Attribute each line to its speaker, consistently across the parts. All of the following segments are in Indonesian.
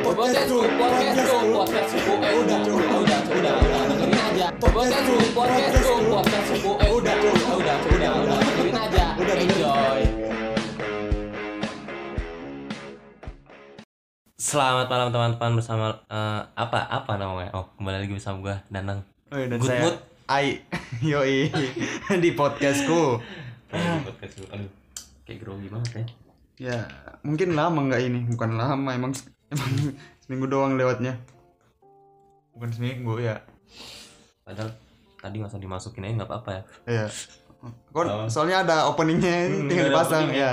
Speaker 1: Podcastku, podcastku, podcastku, eh udah, udah, udah, udah, udah, dengerin aja. Podcastku, podcastku, podcastku, eh udah, udah, udah, udah, udah, dengerin aja. Enjoy.
Speaker 2: Selamat malam teman-teman bersama eh, apa apa namanya? Oh, kembali lagi bersama gua Danang.
Speaker 3: Oh, dan
Speaker 2: Good
Speaker 3: saya
Speaker 2: mood.
Speaker 3: Ai Yoi di podcastku.
Speaker 2: Lagi podcast dulu. Aduh, kayak grogi banget ya.
Speaker 3: Ya, mungkin lama nggak ini? Bukan lama, emang emang seminggu doang lewatnya. Bukan seminggu ya.
Speaker 2: Padahal tadi nggak usah dimasukin aja nggak apa-apa ya.
Speaker 3: Iya. Kon,
Speaker 2: Lama.
Speaker 3: soalnya ada openingnya
Speaker 2: Hmm,
Speaker 3: tinggal
Speaker 2: ada
Speaker 3: dipasang
Speaker 2: openingnya.
Speaker 3: ya.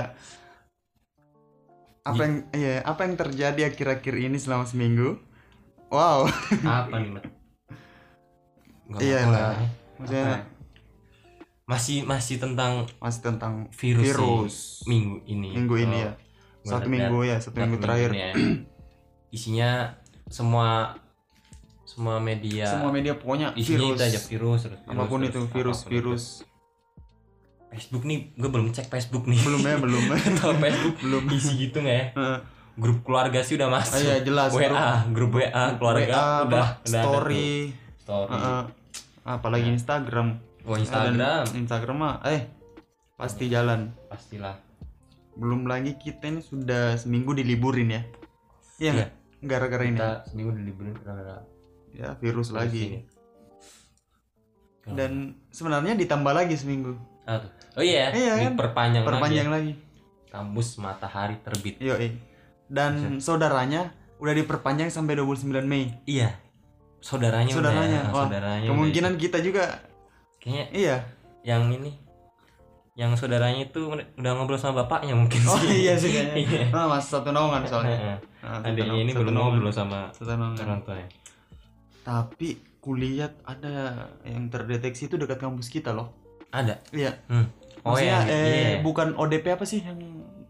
Speaker 3: Apa yang iya, apa yang terjadi akhir-akhir ini selama seminggu? Wow.
Speaker 2: Apa nih, Mat? Nggak
Speaker 3: Iya
Speaker 2: apa-apa
Speaker 3: lah.
Speaker 2: ya.
Speaker 3: Maksudnya
Speaker 2: Masih masih tentang
Speaker 3: masih tentang
Speaker 2: virus, sih,
Speaker 3: Virus.
Speaker 2: minggu ini.
Speaker 3: minggu ini
Speaker 2: Kalau
Speaker 3: ya.
Speaker 2: gua
Speaker 3: Satu
Speaker 2: liat-
Speaker 3: minggu ya,
Speaker 2: liat
Speaker 3: satu minggu
Speaker 2: minggu
Speaker 3: terakhir.
Speaker 2: ini ya. Isinya semua semua media
Speaker 3: Semua media pokoknya
Speaker 2: isinya
Speaker 3: virus.
Speaker 2: itu aja virus, terus virus,
Speaker 3: Apapun
Speaker 2: terus
Speaker 3: itu
Speaker 2: apapun
Speaker 3: virus,
Speaker 2: itu.
Speaker 3: virus.
Speaker 2: Facebook nih gue belum cek Facebook nih
Speaker 3: belum ya belum
Speaker 2: Tahu Facebook
Speaker 3: belum
Speaker 2: isi gitu nggak ya
Speaker 3: Heeh.
Speaker 2: grup keluarga sih udah masuk
Speaker 3: ah, iya jelas
Speaker 2: WA
Speaker 3: grup-
Speaker 2: grup WA ah, keluarga
Speaker 3: WA,
Speaker 2: udah
Speaker 3: bah,
Speaker 2: udah ada
Speaker 3: story
Speaker 2: tuh. story
Speaker 3: Heeh. apalagi Instagram
Speaker 2: Wah,
Speaker 3: Ah,
Speaker 2: Instagram
Speaker 3: dan Instagram mah eh pasti jalan
Speaker 2: pastilah
Speaker 3: belum lagi kita ini sudah seminggu diliburin ya iya nggak? gara-gara ini
Speaker 2: kita seminggu diliburin gara-gara
Speaker 3: ya
Speaker 2: virus
Speaker 3: virus
Speaker 2: ini. iya.
Speaker 3: lagi
Speaker 2: Gara-
Speaker 3: dan sebenarnya ditambah lagi seminggu
Speaker 2: Ah, tuh. oh iya,
Speaker 3: Iya, kan?
Speaker 2: diperpanjang
Speaker 3: perpanjang
Speaker 2: lagi
Speaker 3: lagi
Speaker 2: ya. kamus matahari terbit
Speaker 3: yoi dan saudaranya udah diperpanjang sampai 29 Mei
Speaker 2: iya saudaranya udah,
Speaker 3: Saudaranya,
Speaker 2: ah,
Speaker 3: wah,
Speaker 2: saudaranya udah.
Speaker 3: kemungkinan kita juga
Speaker 2: kayaknya
Speaker 3: iya
Speaker 2: yang ini yang saudaranya itu udah ngobrol sama bapaknya mungkin
Speaker 3: oh
Speaker 2: sih
Speaker 3: iya sih kayaknya
Speaker 2: Iya.
Speaker 3: Ah, masih satu naungan soalnya
Speaker 2: Heeh.
Speaker 3: Ah, satu
Speaker 2: adiknya
Speaker 3: naung-
Speaker 2: ini
Speaker 3: satu
Speaker 2: belum
Speaker 3: naungan.
Speaker 2: ngobrol sama
Speaker 3: Satu naungan.
Speaker 2: orang tuanya
Speaker 3: Tapi kulihat ada yang terdeteksi itu dekat kampus kita loh.
Speaker 2: ada
Speaker 3: Iya.
Speaker 2: hmm. oh
Speaker 3: Maksudnya,
Speaker 2: iya
Speaker 3: eh,
Speaker 2: iya.
Speaker 3: bukan ODP apa sih yang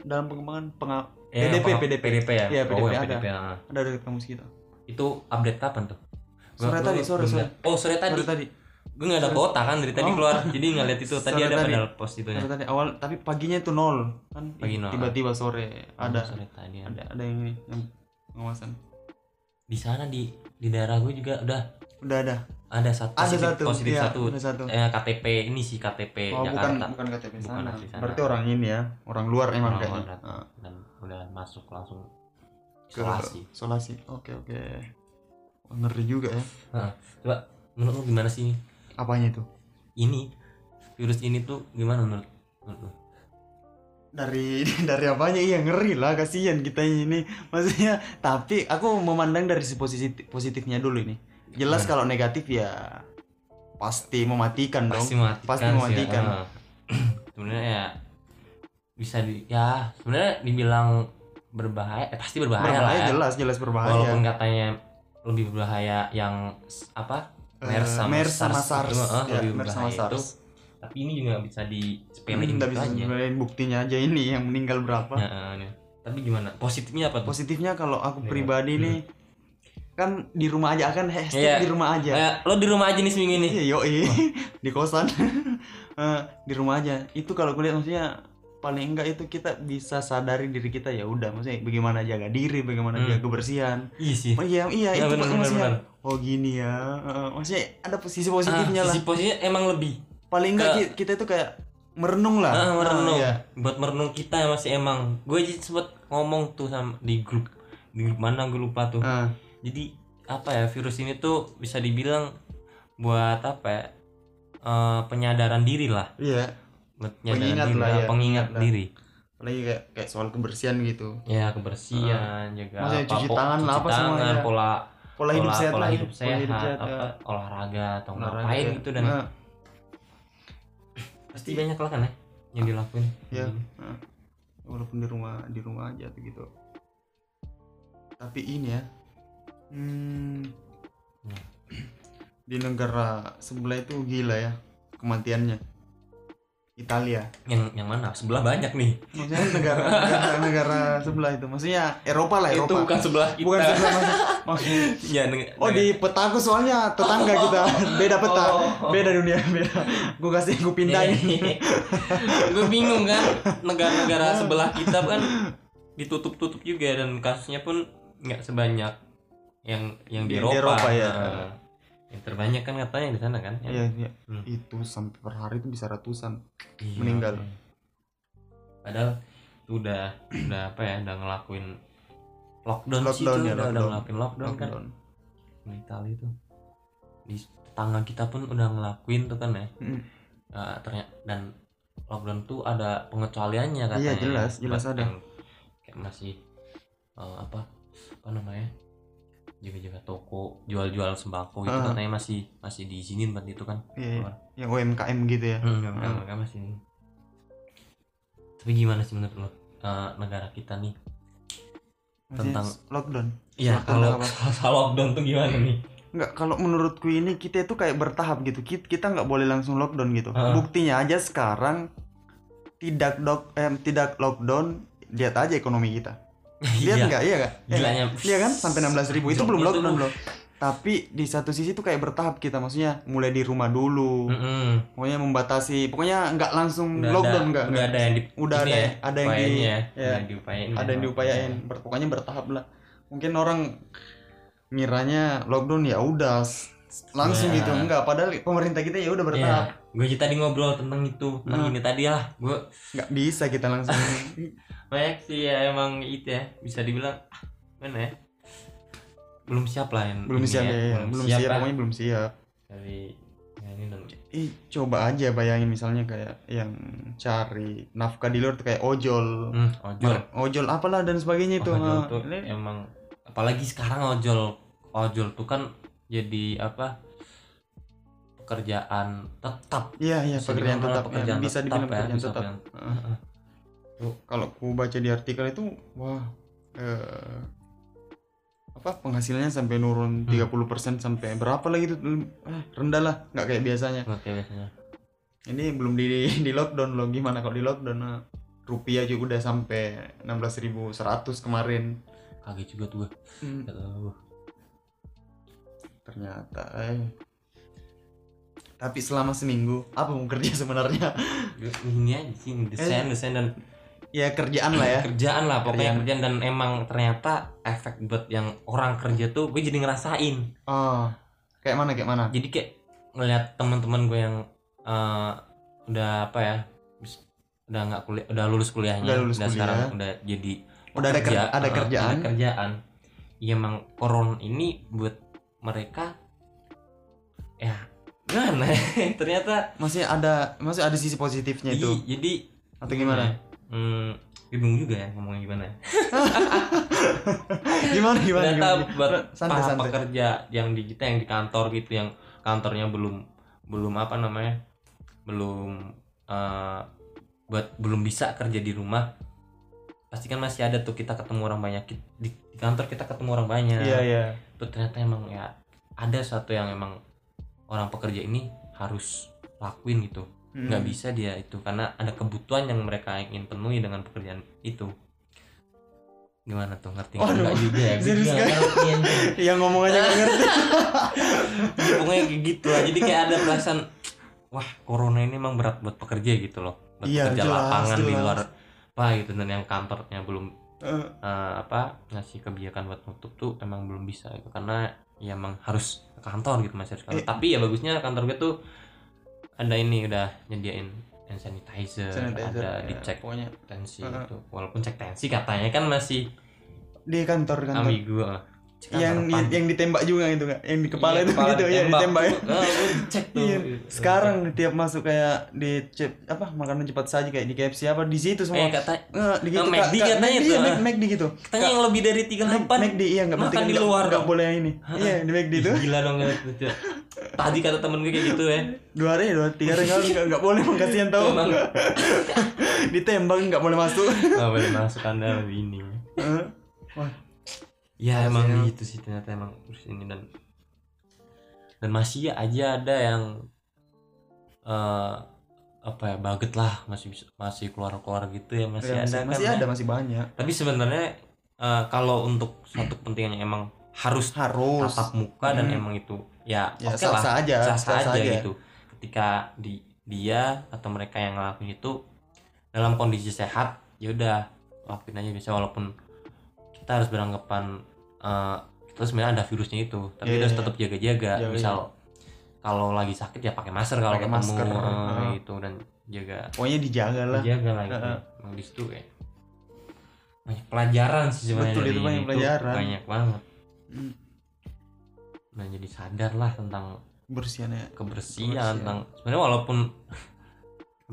Speaker 3: dalam pengembangan penga-
Speaker 2: Eh,
Speaker 3: PDP,
Speaker 2: apa?
Speaker 3: PDP.
Speaker 2: PDP ya
Speaker 3: Iya,
Speaker 2: oh,
Speaker 3: PDP
Speaker 2: ya,
Speaker 3: ada.
Speaker 2: PDP, ah.
Speaker 3: ada dekat kampus kita.
Speaker 2: itu update kapan tuh Gua-
Speaker 3: Sore
Speaker 2: gua-
Speaker 3: tadi,
Speaker 2: gua
Speaker 3: sore,
Speaker 2: belum
Speaker 3: sore.
Speaker 2: liat. oh sore tadi
Speaker 3: Baru tadi,
Speaker 2: gue nggak ada kota kan dari tadi
Speaker 3: Oh.
Speaker 2: keluar jadi nggak lihat itu tadi
Speaker 3: Sore
Speaker 2: ada
Speaker 3: tadi.
Speaker 2: padahal post itu ya
Speaker 3: baru tadi awal tapi paginya itu nol kan
Speaker 2: Pagi nol.
Speaker 3: tiba-tiba sore ada
Speaker 2: Oh, sore tadi ada
Speaker 3: ada ada yang ini yang pengawasan.
Speaker 2: di sana di di daerah gue juga udah
Speaker 3: Udah ada.
Speaker 2: ada satu
Speaker 3: Ada
Speaker 2: positif,
Speaker 3: satu.
Speaker 2: positif
Speaker 3: iya,
Speaker 2: satu
Speaker 3: Ada satu.
Speaker 2: eh, KTP ini sih KTP
Speaker 3: oh, bukan
Speaker 2: Jakarta
Speaker 3: bukan KTP
Speaker 2: Bukan
Speaker 3: sana.
Speaker 2: asli sana.
Speaker 3: Berarti orang ini ya, orang luar
Speaker 2: Orang
Speaker 3: emang kayaknya.
Speaker 2: luar.
Speaker 3: Ah,
Speaker 2: dan udah masuk langsung
Speaker 3: ke-
Speaker 2: isolasi
Speaker 3: Isolasi. Oke, oke. Wah, Ngeri juga ya.
Speaker 2: menurut lu gimana sih ini?
Speaker 3: Apanya itu?
Speaker 2: ini virus ini tuh gimana menurut menurut lu?
Speaker 3: dari dari apanya iya ngeri lah kasihan kita ini maksudnya tapi aku memandang dari si positif positifnya dulu ini jelas
Speaker 2: Iya.
Speaker 3: kalau negatif ya pasti mematikan dong
Speaker 2: pasti mematikan
Speaker 3: Pasti
Speaker 2: sih,
Speaker 3: mematikan.
Speaker 2: ya. sebenarnya ya bisa di ya sebenarnya dibilang berbahaya eh, pasti berbahaya, lah
Speaker 3: berbahaya
Speaker 2: ya.
Speaker 3: jelas jelas
Speaker 2: walaupun
Speaker 3: berbahaya
Speaker 2: katanya lebih berbahaya yang s- apa
Speaker 3: Eh,
Speaker 2: MERS sama
Speaker 3: MERS sama
Speaker 2: SARS,
Speaker 3: SARS,
Speaker 2: itu, eh,
Speaker 3: ya,
Speaker 2: lebih
Speaker 3: MERS sama
Speaker 2: berbahaya itu.
Speaker 3: SARS. Hmm,
Speaker 2: tapi ini juga nggak bisa disepelein
Speaker 3: Nggak
Speaker 2: gitu
Speaker 3: bisa
Speaker 2: aja
Speaker 3: sebenarnya buktinya aja ini yang meninggal berapa
Speaker 2: Ya, eh, ya. tapi gimana positifnya apa tuh
Speaker 3: positifnya kalau aku
Speaker 2: Iya.
Speaker 3: pribadi
Speaker 2: Hmm.
Speaker 3: nih kan di rumah aja kan hashtag
Speaker 2: Iya.
Speaker 3: di rumah aja
Speaker 2: Eh, lo di rumah aja nih seminggu ini
Speaker 3: Iya yoi di kosan Eh, di rumah aja itu kalau kulihat maksudnya paling enggak itu kita bisa sadari diri kita ya udah maksudnya bagaimana jaga diri bagaimana
Speaker 2: Hmm.
Speaker 3: jaga kebersihan
Speaker 2: iya sih
Speaker 3: oh iya iya
Speaker 2: Ya,
Speaker 3: itu
Speaker 2: benar, benar,
Speaker 3: maksudnya
Speaker 2: benar.
Speaker 3: oh gini ya Eh, maksudnya ada sisi
Speaker 2: Ah,
Speaker 3: positifnya lah
Speaker 2: sisi positifnya emang lebih
Speaker 3: paling enggak ki- kita itu kayak merenung lah
Speaker 2: Ah, merenung.
Speaker 3: Ah, iya.
Speaker 2: Buat merenung kita masih emang. Gue aja sempet ngomong tuh sama di grup di grup mana gue lupa tuh.
Speaker 3: Ah,
Speaker 2: Jadi apa ya virus ini tuh bisa dibilang buat apa ya? Eh, penyadaran diri lah.
Speaker 3: iya
Speaker 2: Buat
Speaker 3: Pengingat
Speaker 2: penyadaran diri
Speaker 3: lah
Speaker 2: lah,
Speaker 3: ya,
Speaker 2: pengingat
Speaker 3: pengingat lah.
Speaker 2: diri.
Speaker 3: apalagi kayak kayak soal kebersihan gitu
Speaker 2: Ya kebersihan, jaga
Speaker 3: Ah. Maksudnya
Speaker 2: apa,
Speaker 3: cuci
Speaker 2: po-
Speaker 3: tangan lah,
Speaker 2: cuci
Speaker 3: apa semua
Speaker 2: tangan,
Speaker 3: ya.
Speaker 2: pola
Speaker 3: pola hidup sehat
Speaker 2: pola
Speaker 3: lah ya.
Speaker 2: hidup
Speaker 3: Pola hidup
Speaker 2: sehat,
Speaker 3: sehat,
Speaker 2: apa,
Speaker 3: ya.
Speaker 2: olahraga atau
Speaker 3: Olahraga,
Speaker 2: ngapain
Speaker 3: ya.
Speaker 2: gitu dan
Speaker 3: Ah,
Speaker 2: pasti banyak lah kan ya yang dilakuin.
Speaker 3: Iya. walaupun di rumah di rumah aja tuh gitu tapi ini ya hmm,
Speaker 2: Hmm.
Speaker 3: di negara sebelah itu gila ya kematiannya Italia
Speaker 2: Yang yang mana? Sebelah banyak nih.
Speaker 3: maksudnya negara negara, negara sebelah itu maksudnya Eropa lah Eropa
Speaker 2: Itu bukan sebelah kita.
Speaker 3: bukan sebelah maksud- maksud-
Speaker 2: ya, neng-
Speaker 3: Oh di petaku soalnya tetangga kita beda peta
Speaker 2: Oh.
Speaker 3: beda dunia beda gue kasih gue
Speaker 2: Iya,
Speaker 3: pindahin
Speaker 2: gue bingung kan negara-negara sebelah kita kan ditutup-tutup juga dan kasusnya pun nggak sebanyak yang yang di, Eropa.
Speaker 3: Yang di Eropa, ya.
Speaker 2: Nah, yang terbanyak kan katanya di sana kan. yang-
Speaker 3: Iya, iya.
Speaker 2: Hmm.
Speaker 3: Itu sampai per hari itu bisa ratusan.
Speaker 2: Iya,
Speaker 3: meninggal.
Speaker 2: iya. Padahal itu udah udah apa ya, udah ngelakuin lockdown, sih
Speaker 3: Lockdown
Speaker 2: itu,
Speaker 3: ya,
Speaker 2: udah, udah
Speaker 3: lockdown.
Speaker 2: ngelakuin lockdown, kan
Speaker 3: Lockdown.
Speaker 2: di Itali itu. Di tetangga kita pun udah ngelakuin tuh kan ya.
Speaker 3: Mm.
Speaker 2: Eh, ternyata dan lockdown tuh ada pengecualiannya katanya.
Speaker 3: Iya, jelas, jelas
Speaker 2: Buat
Speaker 3: ada.
Speaker 2: yang kayak masih eh, apa apa namanya? jaga-jaga toko, jual-jual sembako gitu
Speaker 3: Ah.
Speaker 2: katanya masih masih diizinin buat itu kan.
Speaker 3: Iya, iya. yang UMKM gitu ya.
Speaker 2: Enggak, enggak,
Speaker 3: Hmm.
Speaker 2: enggak, enggak, masih. Tapi gimana sih menurut lo eh, negara kita nih?
Speaker 3: Maksudnya
Speaker 2: Tentang-
Speaker 3: lockdown.
Speaker 2: Iya,
Speaker 3: Lockdown
Speaker 2: kalau kalau lockdown tuh gimana nih?
Speaker 3: Nggak, kalau menurutku ini kita itu kayak bertahap gitu. Kit- Kita nggak boleh langsung lockdown gitu.
Speaker 2: Heeh.
Speaker 3: Buktinya aja sekarang tidak dok eh, tidak lockdown lihat aja ekonomi kita. Lihat nggak? Iya nggak? Iya nggak?
Speaker 2: Gilanya.
Speaker 3: Iya kan? Sampai 16.000 ribu itu
Speaker 2: Itu-
Speaker 3: belum
Speaker 2: itu-
Speaker 3: lockdown loh. Tapi di satu sisi itu kayak bertahap kita maksudnya mulai di rumah dulu.
Speaker 2: Mm-mm.
Speaker 3: Pokoknya membatasi, pokoknya nggak langsung
Speaker 2: Udah
Speaker 3: lockdown
Speaker 2: Hmm. ada,
Speaker 3: nggak?
Speaker 2: udah
Speaker 3: nggak.
Speaker 2: ada yang di
Speaker 3: Udah
Speaker 2: ini
Speaker 3: ada,
Speaker 2: ya,
Speaker 3: ada yang di
Speaker 2: upayanya ya,
Speaker 3: ya.
Speaker 2: ada yang diupayain.
Speaker 3: ada yang diupayain Ber- pokoknya bertahap lah mungkin orang ngiranya lockdown ya udah s- langsung
Speaker 2: Ya.
Speaker 3: gitu enggak padahal pemerintah kita ya udah bertahap
Speaker 2: Iya. Gue aja tadi ngobrol tentang itu, tentang
Speaker 3: Hmm.
Speaker 2: ini tadi lah. Gue
Speaker 3: nggak bisa kita langsung
Speaker 2: banyak sih ya emang itu ya bisa dibilang ah, mana ya? Belum siap lah yang
Speaker 3: belum
Speaker 2: ini
Speaker 3: siap ya, ya.
Speaker 2: Iya, Belum,
Speaker 3: belum
Speaker 2: siap,
Speaker 3: siap
Speaker 2: lah
Speaker 3: pokoknya belum siap
Speaker 2: dari ya, ini dan
Speaker 3: Ih, coba aja bayangin misalnya kayak yang cari nafkah di luar tuh kayak ojol
Speaker 2: Hmm, ojol.
Speaker 3: Mer- ojol apalah dan sebagainya itu
Speaker 2: Oh, ojol
Speaker 3: ha.
Speaker 2: tuh
Speaker 3: Ini-
Speaker 2: emang apalagi sekarang ojol ojol tuh kan jadi apa pekerjaan tetap
Speaker 3: iya iya
Speaker 2: Bisa
Speaker 3: pekerjaan
Speaker 2: dibilang malah
Speaker 3: tetap ya,
Speaker 2: pekerjaan
Speaker 3: bisa
Speaker 2: tetap
Speaker 3: dibilang
Speaker 2: ya,
Speaker 3: pekerjaan
Speaker 2: bisa
Speaker 3: tetap
Speaker 2: pekerjaan-
Speaker 3: Heeh. Tuh, kalau ku baca di artikel itu wah eh, apa penghasilannya sampai nurun
Speaker 2: Hmm.
Speaker 3: 30% sampai berapa lagi itu eh, rendah lah nggak kayak biasanya
Speaker 2: nggak kayak biasanya
Speaker 3: ini belum di di lockdown loh gimana kalau di lockdown nah, rupiah juga udah sampai 16.100 kemarin
Speaker 2: kaget juga tuh gue
Speaker 3: Hmm,
Speaker 2: Kata gue,
Speaker 3: ternyata eh tapi selama seminggu apa mau kerja sebenarnya
Speaker 2: gue ini aja sih desain desain dan
Speaker 3: ya kerjaan lah ya
Speaker 2: kerjaan lah pokoknya
Speaker 3: Eh,
Speaker 2: kerjaan
Speaker 3: Kerjaan.
Speaker 2: dan emang ternyata efek buat yang orang kerja tuh gue jadi ngerasain
Speaker 3: oh kayak mana kayak mana
Speaker 2: jadi kayak ngeliat teman-teman gue yang eh, udah apa ya bis- udah nggak kuliah udah lulus kuliahnya
Speaker 3: Udah lulus kuliah.
Speaker 2: sekarang udah jadi
Speaker 3: Udah ada ker-
Speaker 2: pekerja,
Speaker 3: ada
Speaker 2: eh,
Speaker 3: kerjaan.
Speaker 2: ada kerjaan ya emang koron ini buat mereka ya gimana ya, ternyata
Speaker 3: masih ada masih ada sisi positifnya
Speaker 2: jadi,
Speaker 3: itu
Speaker 2: jadi
Speaker 3: atau gimana
Speaker 2: ya, hmm, bingung juga ya ngomongnya gimana
Speaker 3: gimana gimana,
Speaker 2: ternyata
Speaker 3: gimana?
Speaker 2: buat
Speaker 3: santai
Speaker 2: para
Speaker 3: santai
Speaker 2: pekerja yang di kita yang di kantor gitu yang kantornya belum belum apa namanya belum eh, buat belum bisa kerja di rumah pasti kan masih ada tuh kita ketemu orang banyak Ki- di, di kantor kita ketemu orang banyak
Speaker 3: iya iya
Speaker 2: Tuh ternyata emang ya ada satu yang emang orang pekerja ini harus lakuin gitu
Speaker 3: Hmm.
Speaker 2: nggak bisa dia itu karena ada kebutuhan yang mereka ingin penuhi dengan pekerjaan itu gimana tuh ngerti nggak
Speaker 3: Waduh,
Speaker 2: Nggak juga ya Gue
Speaker 3: serius kan?
Speaker 2: juga nggak ngerti anjing.
Speaker 3: yang Iya, ngomong aja nggak ngerti
Speaker 2: pokoknya kayak gitu lah jadi kayak ada perasaan wah corona ini emang berat buat pekerja gitu loh buat
Speaker 3: Iya,
Speaker 2: pekerja
Speaker 3: jelas,
Speaker 2: lapangan di
Speaker 3: jelas.
Speaker 2: luar apa gitu dan yang kantornya belum
Speaker 3: Eh,
Speaker 2: eh, apa ngasih kebijakan buat nutup tuh emang belum bisa itu karena ya emang harus ke kantor gitu masih harus ke kantor.
Speaker 3: Eh.
Speaker 2: tapi ya bagusnya kantor gue tuh ada ini udah nyediain hand sanitizer,
Speaker 3: sanitizer,
Speaker 2: ada
Speaker 3: ya,
Speaker 2: dicek
Speaker 3: pokoknya Eh.
Speaker 2: tensi
Speaker 3: Heeh.
Speaker 2: gitu walaupun cek tensi katanya kan masih
Speaker 3: di kantor kantor
Speaker 2: ambigu ah. Cek
Speaker 3: Kan yang
Speaker 2: kantor
Speaker 3: yang,
Speaker 2: pan.
Speaker 3: yang ditembak juga itu nggak yang di
Speaker 2: Iya,
Speaker 3: kepala itu gitu ya
Speaker 2: ditembak.
Speaker 3: ditembak ya
Speaker 2: Tuh, eh, gue cek tuh Eh,
Speaker 3: Iya. sekarang tiap masuk kayak di cep- apa makanan cepat saja kayak di KFC apa di situ
Speaker 2: eh
Speaker 3: semua
Speaker 2: kata
Speaker 3: Nggak, di gitu,
Speaker 2: Nah, McD
Speaker 3: Kak.
Speaker 2: katanya
Speaker 3: McD,
Speaker 2: itu,
Speaker 3: iya,
Speaker 2: ah.
Speaker 3: Mac- McD gitu
Speaker 2: katanya yang lebih dari tiga
Speaker 3: Mac-
Speaker 2: delapan
Speaker 3: McD iya nggak
Speaker 2: makan
Speaker 3: penting,
Speaker 2: di
Speaker 3: nggak-
Speaker 2: luar
Speaker 3: nggak
Speaker 2: dong.
Speaker 3: boleh yang ini iya di McD itu
Speaker 2: Ih, gila dong ya, itu, cuy. tadi kata temen gue kayak gitu ya
Speaker 3: dua hari dua tiga hari nggak nggak- nggak boleh mengkasihan tahu
Speaker 2: Emang.
Speaker 3: ditembak nggak boleh masuk
Speaker 2: nggak boleh masuk anda lebih ini
Speaker 3: Eh, wah
Speaker 2: ya emang
Speaker 3: Harusnya.
Speaker 2: gitu sih ternyata emang terus ini dan dan masih aja ada yang eh apa ya baget lah masih bisa- masih keluar keluar gitu ya masih
Speaker 3: Ya,
Speaker 2: ada kan
Speaker 3: masih
Speaker 2: ya.
Speaker 3: ada masih banyak
Speaker 2: tapi sebenarnya eh, kalau untuk suatu kepentingan yang emang harus
Speaker 3: harus
Speaker 2: tatap muka dan
Speaker 3: Hmm.
Speaker 2: emang itu ya,
Speaker 3: ya
Speaker 2: oke
Speaker 3: sah
Speaker 2: lah
Speaker 3: sah aja
Speaker 2: sah-sah aja, gitu ketika di dia atau mereka yang ngelakuin itu dalam kondisi sehat ya udah lakuin aja bisa walaupun kita harus beranggapan eh, kita sebenarnya ada virusnya itu tapi
Speaker 3: Iya,
Speaker 2: harus
Speaker 3: iya,
Speaker 2: tetap jaga-jaga ya,
Speaker 3: Jaga-jaga.
Speaker 2: misal kalau lagi sakit ya pakai masker kalau
Speaker 3: Pakai
Speaker 2: ketemu
Speaker 3: masker,
Speaker 2: eh,
Speaker 3: heeh.
Speaker 2: gitu dan jaga
Speaker 3: pokoknya dijaga lah
Speaker 2: dijaga lah itu
Speaker 3: Heeh.
Speaker 2: emang di situ ya banyak pelajaran sih sebenarnya
Speaker 3: Betul,
Speaker 2: dari
Speaker 3: itu banyak pelajaran.
Speaker 2: banyak banget
Speaker 3: Hmm,
Speaker 2: nah jadi sadar lah tentang
Speaker 3: kebersihannya
Speaker 2: kebersihan,
Speaker 3: ya. Kebersihan.
Speaker 2: tentang sebenarnya walaupun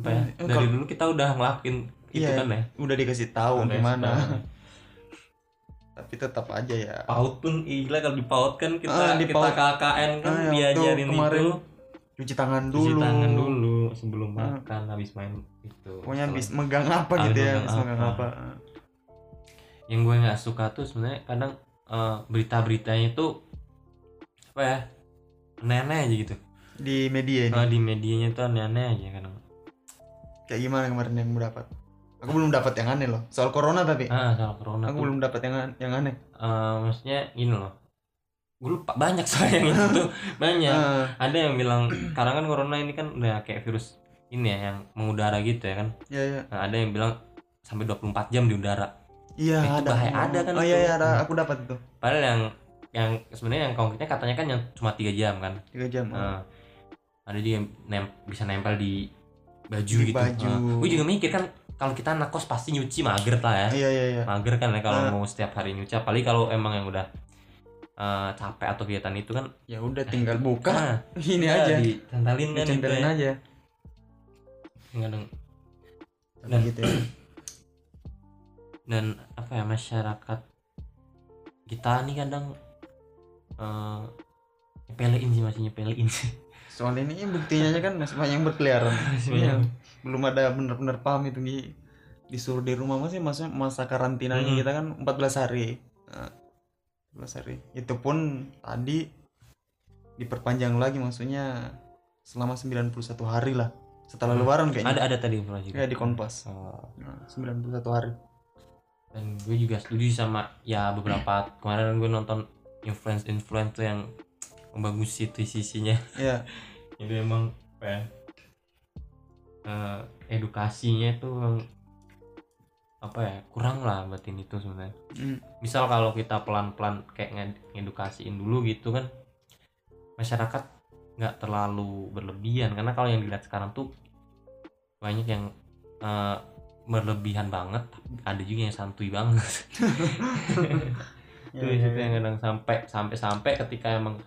Speaker 2: apa ya
Speaker 3: Eh,
Speaker 2: dari
Speaker 3: kalau-
Speaker 2: dulu kita udah ngelakuin itu
Speaker 3: Iya,
Speaker 2: kan ya
Speaker 3: udah dikasih tahu
Speaker 2: Udah
Speaker 3: gimana
Speaker 2: sekarang.
Speaker 3: tapi tetap aja ya
Speaker 2: paut pun gila kalau dipaut kan kita
Speaker 3: Ah,
Speaker 2: kita
Speaker 3: dipaut.
Speaker 2: KKN kan
Speaker 3: Ah, yang
Speaker 2: diajarin
Speaker 3: tuh kemarin
Speaker 2: itu
Speaker 3: cuci tangan
Speaker 2: cuci
Speaker 3: dulu
Speaker 2: tangan dulu sebelum
Speaker 3: Ah.
Speaker 2: makan habis main itu Setelah-
Speaker 3: pokoknya habis megang apa
Speaker 2: Habis
Speaker 3: gitu ya
Speaker 2: megang
Speaker 3: habis megang
Speaker 2: apa.
Speaker 3: apa
Speaker 2: yang gue nggak suka tuh sebenarnya kadang eh, berita-beritanya itu apa ya aneh-aneh aja gitu
Speaker 3: di media ini
Speaker 2: Kalau di medianya tuh aneh-aneh aja kadang
Speaker 3: kayak gimana kemarin yang dapat aku belum dapat yang aneh loh soal corona tapi
Speaker 2: ah soal corona
Speaker 3: Eh, aku
Speaker 2: tuh,
Speaker 3: belum dapat yang an- yang aneh
Speaker 2: eh, maksudnya gini loh gue lupa banyak soalnya yang itu tuh banyak
Speaker 3: Ah,
Speaker 2: ada yang bilang sekarang kan corona ini kan udah kayak virus ini ya yang mengudara gitu ya kan
Speaker 3: iya iya
Speaker 2: Nah, ada yang bilang sampai 24 jam di udara
Speaker 3: iya
Speaker 2: Itu
Speaker 3: ada
Speaker 2: bahaya ada kan
Speaker 3: oh
Speaker 2: itu.
Speaker 3: iya iya ada aku dapat itu
Speaker 2: padahal yang yang sebenarnya yang konkretnya katanya kan yang cuma tiga jam kan
Speaker 3: tiga jam
Speaker 2: Nah, ada juga yang nem- bisa nempel di baju
Speaker 3: Di
Speaker 2: gitu
Speaker 3: baju.
Speaker 2: gue juga mikir kan kalau kita anak kos pasti nyuci mager lah ya
Speaker 3: iya iya iya
Speaker 2: mager kan ya kalau
Speaker 3: Ah.
Speaker 2: mau setiap hari nyuci apalagi kalau emang yang udah eh, capek atau kegiatan itu kan
Speaker 3: ya udah tinggal buka
Speaker 2: ah,
Speaker 3: ini
Speaker 2: ya,
Speaker 3: aja
Speaker 2: dicantelin kan gitu
Speaker 3: dicenderin
Speaker 2: ya.
Speaker 3: aja
Speaker 2: Kadang-
Speaker 3: Tapi
Speaker 2: Dan-
Speaker 3: gitu ya.
Speaker 2: dan apa ya masyarakat kita nih kadang eh nyepelein sih masih nyepelein sih
Speaker 3: soal ini buktinya aja kan masih banyak yang berkeliaran
Speaker 2: Masih
Speaker 3: Iya.
Speaker 2: banyak.
Speaker 3: belum ada bener-bener paham itu Gi. disuruh di rumah masih maksudnya masa karantinanya
Speaker 2: Mm.
Speaker 3: kita kan 14 hari Nah, 14 hari itu pun tadi diperpanjang lagi maksudnya selama 91 hari lah setelah
Speaker 2: Hmm.
Speaker 3: lebaran kayaknya
Speaker 2: ada ada tadi informasi
Speaker 3: Iya, di Kompas.
Speaker 2: Oh.
Speaker 3: Nah, 91 hari
Speaker 2: dan gue juga setuju sama ya beberapa kemarin gue nonton influence influencer yang membagusi itu sisinya
Speaker 3: ya
Speaker 2: itu emang apa ya, eh, edukasinya itu emang apa ya kurang lah batin itu sebenarnya
Speaker 3: Mm.
Speaker 2: misal kalau kita pelan-pelan kayak nge- ngedukasiin dulu gitu kan masyarakat nggak terlalu berlebihan karena kalau yang dilihat sekarang tuh banyak yang eh, berlebihan banget tapi ada juga yang santuy banget itu
Speaker 3: Ya,
Speaker 2: di
Speaker 3: ya,
Speaker 2: situ
Speaker 3: ya.
Speaker 2: yang kadang sampai sampai sampai ketika emang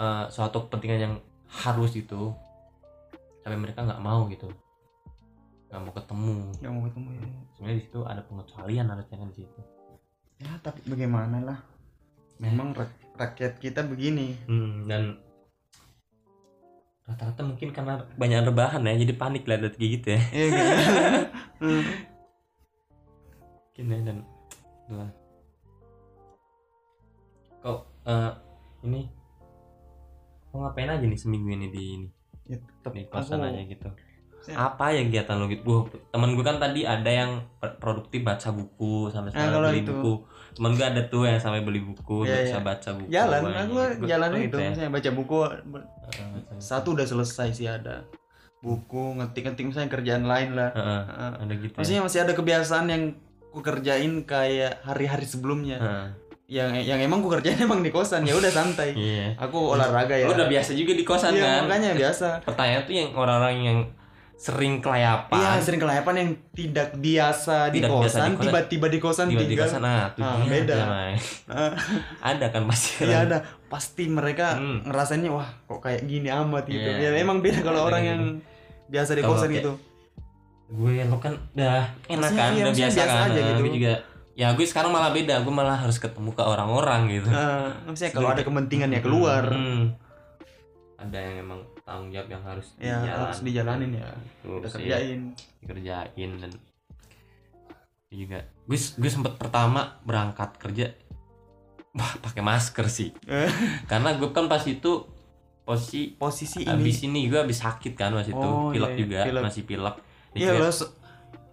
Speaker 2: eh, suatu kepentingan yang harus itu sampai mereka nggak mau gitu nggak mau ketemu
Speaker 3: Nggak mau ketemu ya.
Speaker 2: sebenarnya di situ ada pengecualian harusnya kan di situ
Speaker 3: ya tapi bagaimana lah memang rak- rakyat kita begini
Speaker 2: Hmm, dan rata-rata mungkin karena banyak rebahan ya, jadi panik lah lihat kayak gitu ya.
Speaker 3: Iya, gitu. Mm.
Speaker 2: Mungkin ya, dan Tuh. Kok eh, ini kok ngapain aja nih seminggu ini di ini
Speaker 3: ya, tetap
Speaker 2: di kosan aja gitu.
Speaker 3: Saya-
Speaker 2: Apa ya kegiatan lo gitu? Wah, temen gue kan tadi ada yang per- produktif baca buku sampai sampai
Speaker 3: Eh, kalau
Speaker 2: beli
Speaker 3: itu.
Speaker 2: buku. Temen gue ada tuh yang sampai beli buku,
Speaker 3: Iya,
Speaker 2: dia
Speaker 3: iya.
Speaker 2: bisa baca buku.
Speaker 3: jalan
Speaker 2: Wah,
Speaker 3: aku
Speaker 2: gua-
Speaker 3: jalan
Speaker 2: gua
Speaker 3: itu
Speaker 2: ya.
Speaker 3: misalnya baca buku
Speaker 2: Heeh, baca buku.
Speaker 3: satu udah selesai sih ada buku ngetik-ngetik misalnya kerjaan lain lah
Speaker 2: Heeh,
Speaker 3: Heeh.
Speaker 2: ada gitu. ya.
Speaker 3: maksudnya masih ada kebiasaan yang ku kerjain kayak hari-hari sebelumnya
Speaker 2: Heeh,
Speaker 3: yang yang emang ku kerjain emang di kosan ya udah santai
Speaker 2: Iya.
Speaker 3: aku olahraga ya
Speaker 2: Lu udah biasa juga di kosan
Speaker 3: Iya,
Speaker 2: kan?
Speaker 3: makanya biasa
Speaker 2: Pertanyaan tuh yang orang-orang yang sering kelayapan.
Speaker 3: iya sering kelayapan yang tidak biasa di
Speaker 2: Tidak biasa
Speaker 3: kosan
Speaker 2: di kosan.
Speaker 3: tiba-tiba di kosan
Speaker 2: tiba di
Speaker 3: kan tinggal
Speaker 2: kosan ah, tuh
Speaker 3: Ah,
Speaker 2: dia
Speaker 3: beda.
Speaker 2: dia, Mai.
Speaker 3: Ah.
Speaker 2: ada kan pasti.
Speaker 3: Iya
Speaker 2: orang.
Speaker 3: ada pasti mereka
Speaker 2: Hmm.
Speaker 3: ngerasainnya wah kok kayak gini amat gitu
Speaker 2: Iya.
Speaker 3: ya memang beda kalau
Speaker 2: Ada
Speaker 3: orang
Speaker 2: gitu.
Speaker 3: yang biasa di
Speaker 2: Kalau
Speaker 3: kosan
Speaker 2: kayak-
Speaker 3: gitu
Speaker 2: Gue lo kan udah enak kan,
Speaker 3: Maksudnya iya,
Speaker 2: udah
Speaker 3: maksudnya
Speaker 2: biasa,
Speaker 3: biasa
Speaker 2: kan.
Speaker 3: aja
Speaker 2: Nah,
Speaker 3: gitu.
Speaker 2: Gue juga ya gue sekarang malah beda, gue malah harus ketemu ke orang-orang gitu.
Speaker 3: Eh, maksudnya kalau ada kepentingan ya keluar
Speaker 2: Hmm. Ada yang emang tanggung jawab yang harus
Speaker 3: Ya, harus dijalanin ya.
Speaker 2: Tuh,
Speaker 3: kita
Speaker 2: sih.
Speaker 3: kerjain
Speaker 2: dikerjain dan iya dia juga gue gue sempet pertama berangkat kerja wah pakai masker sih
Speaker 3: Eh.
Speaker 2: karena gue kan pas itu posisi
Speaker 3: posisi ini
Speaker 2: abis ini gue abis sakit kan pas itu
Speaker 3: Oh,
Speaker 2: pilek
Speaker 3: iya,
Speaker 2: juga
Speaker 3: pilek.
Speaker 2: masih pilek
Speaker 3: iya
Speaker 2: Dikira-
Speaker 3: loh se-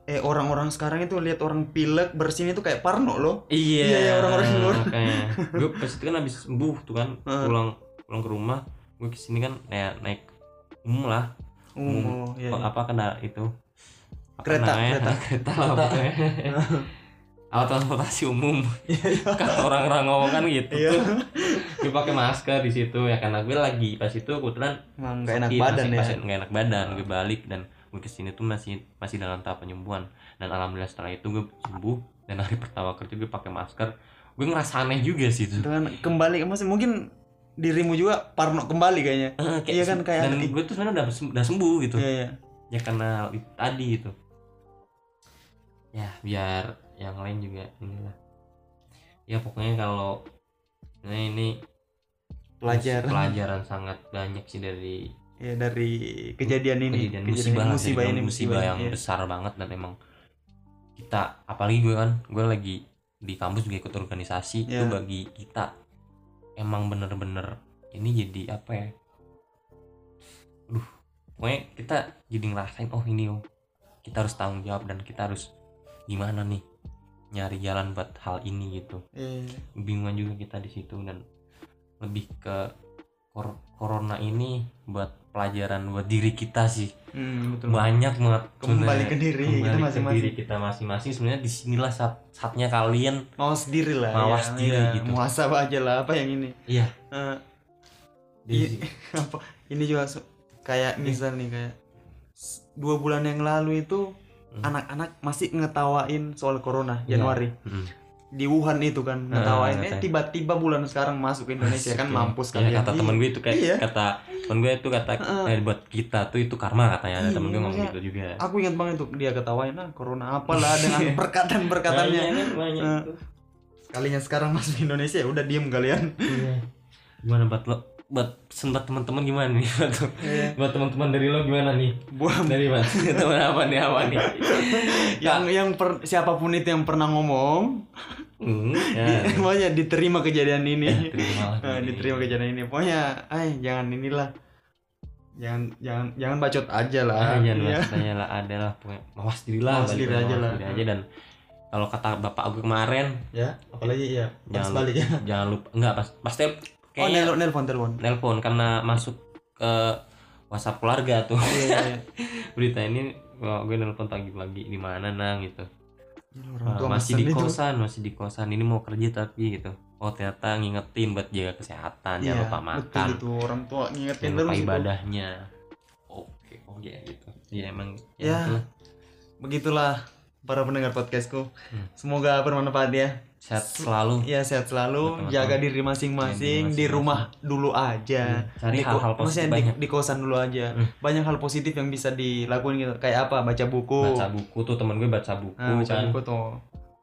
Speaker 3: eh orang-orang sekarang itu lihat orang pilek bersin itu kayak parno loh
Speaker 2: iya
Speaker 3: Iya, iya, orang-orang Eh. luar.
Speaker 2: makanya gue pas itu kan abis sembuh tuh kan
Speaker 3: Heeh.
Speaker 2: pulang pulang ke rumah gue kesini kan naik naik umum lah Hmm.
Speaker 3: oh iya, iya.
Speaker 2: apa kena itu apa
Speaker 3: Kereta,
Speaker 2: namanya?
Speaker 3: kereta.
Speaker 2: kereta lah pokoknya. alat transportasi umum kan orang-orang ngomong kan gitu
Speaker 3: Iya.
Speaker 2: dia pakai masker di situ ya kan gue lagi pas itu kebetulan
Speaker 3: Emang gak enak
Speaker 2: sakit,
Speaker 3: badan
Speaker 2: masih,
Speaker 3: ya.
Speaker 2: masih nggak enak badan gue balik dan gue kesini tuh masih masih dalam tahap penyembuhan dan alhamdulillah setelah itu gue sembuh dan hari pertama kerja gue pakai masker gue ngerasa aneh juga sih itu
Speaker 3: Itu kan kembali masih mungkin dirimu juga parno kembali kayaknya.
Speaker 2: Eh, kayak
Speaker 3: Iya kan, kayak
Speaker 2: dan
Speaker 3: hati.
Speaker 2: gue tuh sebenarnya udah, sem- udah sembuh gitu
Speaker 3: Iya iya.
Speaker 2: ya karena itu tadi itu ya biar yang lain juga inilah ya pokoknya kalau nah ini
Speaker 3: Pelajaran.
Speaker 2: pelajaran sangat banyak sih dari
Speaker 3: Ya dari kejadian ini,
Speaker 2: kejadian Iya, musibah lah,
Speaker 3: musibah
Speaker 2: jadi
Speaker 3: ini
Speaker 2: musibah yang
Speaker 3: iya.
Speaker 2: besar banget dan emang kita apalagi gue kan gue lagi di kampus juga ikut organisasi itu
Speaker 3: Iya.
Speaker 2: bagi kita emang bener-bener ini jadi apa ya aduh pokoknya kita jadi ngerasain oh ini oh kita harus tanggung jawab dan kita harus gimana nih nyari jalan buat hal ini gitu
Speaker 3: Iya, iya.
Speaker 2: bingungan juga kita di situ dan lebih ke kor- corona ini buat pelajaran buat diri kita sih
Speaker 3: Hmm, betul.
Speaker 2: banyak banget
Speaker 3: Kembali
Speaker 2: sebenarnya.
Speaker 3: ke diri
Speaker 2: ya. Kembali
Speaker 3: kita
Speaker 2: ke
Speaker 3: masing-masing.
Speaker 2: diri kita masing-masing sebenarnya disinilah saat- saatnya kalian
Speaker 3: Mawas diri lah.
Speaker 2: Mawas
Speaker 3: ya,
Speaker 2: diri
Speaker 3: iya.
Speaker 2: gitu.
Speaker 3: Muhasabah aja lah apa yang ini.
Speaker 2: Iya.
Speaker 3: Eh, Iya.
Speaker 2: di-
Speaker 3: apa ini juga se- kayak misal nih kayak s- dua bulan yang lalu itu
Speaker 2: Hmm.
Speaker 3: anak-anak masih ngetawain soal corona
Speaker 2: Iya. Nah,
Speaker 3: Januari
Speaker 2: Mm.
Speaker 3: di Wuhan itu kan ngetawain eh
Speaker 2: ngatain.
Speaker 3: tiba-tiba bulan sekarang masuk ke Indonesia kan
Speaker 2: Iya.
Speaker 3: mampus
Speaker 2: Iya,
Speaker 3: kalian
Speaker 2: kata temen gue itu kayak
Speaker 3: Iya.
Speaker 2: kata temen gue itu kata
Speaker 3: Heeh.
Speaker 2: eh, buat kita tuh itu karma katanya ada
Speaker 3: Iya,
Speaker 2: temen gue ngomong
Speaker 3: maksudnya
Speaker 2: gitu juga
Speaker 3: aku ingat banget tuh dia ketawain ah corona apalah dengan perkataan-perkataannya
Speaker 2: Banyak, kan, banyak
Speaker 3: Eh.
Speaker 2: itu.
Speaker 3: kalian sekarang masuk Indonesia ya udah diem kalian
Speaker 2: Iya. gimana buat lo buat sempat teman-teman gimana nih buat,
Speaker 3: Iya.
Speaker 2: buat teman-teman dari lo gimana nih
Speaker 3: buat
Speaker 2: dari mas teman apa nih apa nih
Speaker 3: yang yang per- siapapun itu yang pernah ngomong
Speaker 2: Hmm, ya.
Speaker 3: di- pokoknya diterima kejadian ini
Speaker 2: Ya, terimalah
Speaker 3: Eh,
Speaker 2: ini.
Speaker 3: Iya. diterima kejadian ini pokoknya ay jangan inilah jangan jangan jangan bacot aja
Speaker 2: Ah,
Speaker 3: lah
Speaker 2: jangan
Speaker 3: Iya.
Speaker 2: maksudnya lah adalah pokoknya mawas diri lah
Speaker 3: Mawas
Speaker 2: balik
Speaker 3: diri
Speaker 2: lagi,
Speaker 3: aja
Speaker 2: mawas
Speaker 3: lah.
Speaker 2: diri aja dan kalau kata bapak aku kemarin
Speaker 3: ya apalagi ya
Speaker 2: jangan lupa,
Speaker 3: ya
Speaker 2: jangan lupa enggak pas pasti
Speaker 3: oh
Speaker 2: kayaknya
Speaker 3: nelpon nelpon telepon
Speaker 2: nelpon karena masuk ke WhatsApp keluarga tuh
Speaker 3: Iya, iya, iya.
Speaker 2: berita ini wah, gue nelpon lagi lagi di mana nang gitu
Speaker 3: orang
Speaker 2: Ah,
Speaker 3: tua
Speaker 2: masih di
Speaker 3: mesen itu.
Speaker 2: kosan masih di kosan ini mau kerja tapi gitu oh ternyata ngingetin buat jaga kesehatan
Speaker 3: Iya,
Speaker 2: jangan lupa
Speaker 3: betul
Speaker 2: makan
Speaker 3: itu orang tua ngingetin
Speaker 2: jangan
Speaker 3: terus
Speaker 2: lupa
Speaker 3: itu. Ya,
Speaker 2: ibadahnya oke oh ya gitu ya emang
Speaker 3: Ya.
Speaker 2: itulah.
Speaker 3: begitulah para pendengar podcastku
Speaker 2: Hmm.
Speaker 3: semoga bermanfaat ya
Speaker 2: sehat selalu
Speaker 3: ya sehat selalu
Speaker 2: Betul, betul.
Speaker 3: jaga diri masing-masing
Speaker 2: Jaga diri
Speaker 3: di rumah dulu aja
Speaker 2: cari
Speaker 3: Di ko-
Speaker 2: hal-hal positif
Speaker 3: maksudnya di,
Speaker 2: banyak
Speaker 3: di kosan dulu aja
Speaker 2: Hmm.
Speaker 3: banyak hal positif yang bisa dilakuin gitu kayak apa baca buku
Speaker 2: baca buku tuh temen gue baca buku
Speaker 3: Nah, baca
Speaker 2: kan
Speaker 3: buku tuh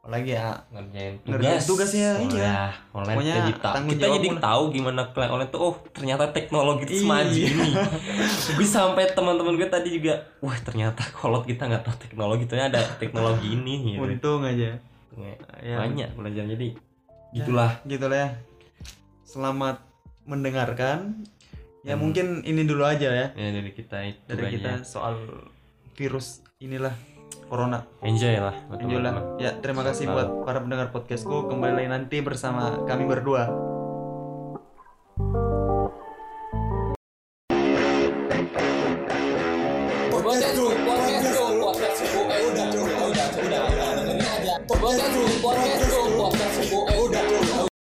Speaker 3: apalagi ya
Speaker 2: ngerjain
Speaker 3: Ngerjain
Speaker 2: tugas
Speaker 3: tugasnya, iya.
Speaker 2: Wah, online
Speaker 3: Pokoknya
Speaker 2: jadi ta-
Speaker 3: tanggung
Speaker 2: kita
Speaker 3: jawab
Speaker 2: jadi
Speaker 3: pun-
Speaker 2: tahu gimana kelas online tuh oh ternyata teknologi itu semaju
Speaker 3: Iya.
Speaker 2: ini gue sampai teman-teman gue tadi juga wah ternyata kolot kita nggak tahu teknologi ternyata ada teknologi ini gitu
Speaker 3: untung aja ya,
Speaker 2: banyak belajar jadi gitulah
Speaker 3: gitu lah ya selamat mendengarkan ya
Speaker 2: Dan-
Speaker 3: mungkin ini dulu aja ya
Speaker 2: ya dari kita itu
Speaker 3: dari kita
Speaker 2: Hmm. aja
Speaker 3: soal virus inilah corona
Speaker 2: enjoy lah buat
Speaker 3: Enjoy lah.
Speaker 2: teman-teman
Speaker 3: ya terima kasih
Speaker 2: Selamat.
Speaker 3: buat para pendengar podcastku kembali lagi nanti bersama kami berdua
Speaker 1: Podcast room, podcast room, podcast room, eh udah, udah, udah, udah, udah, dengerin aja. Podcast room, podcast room, podcast room, eh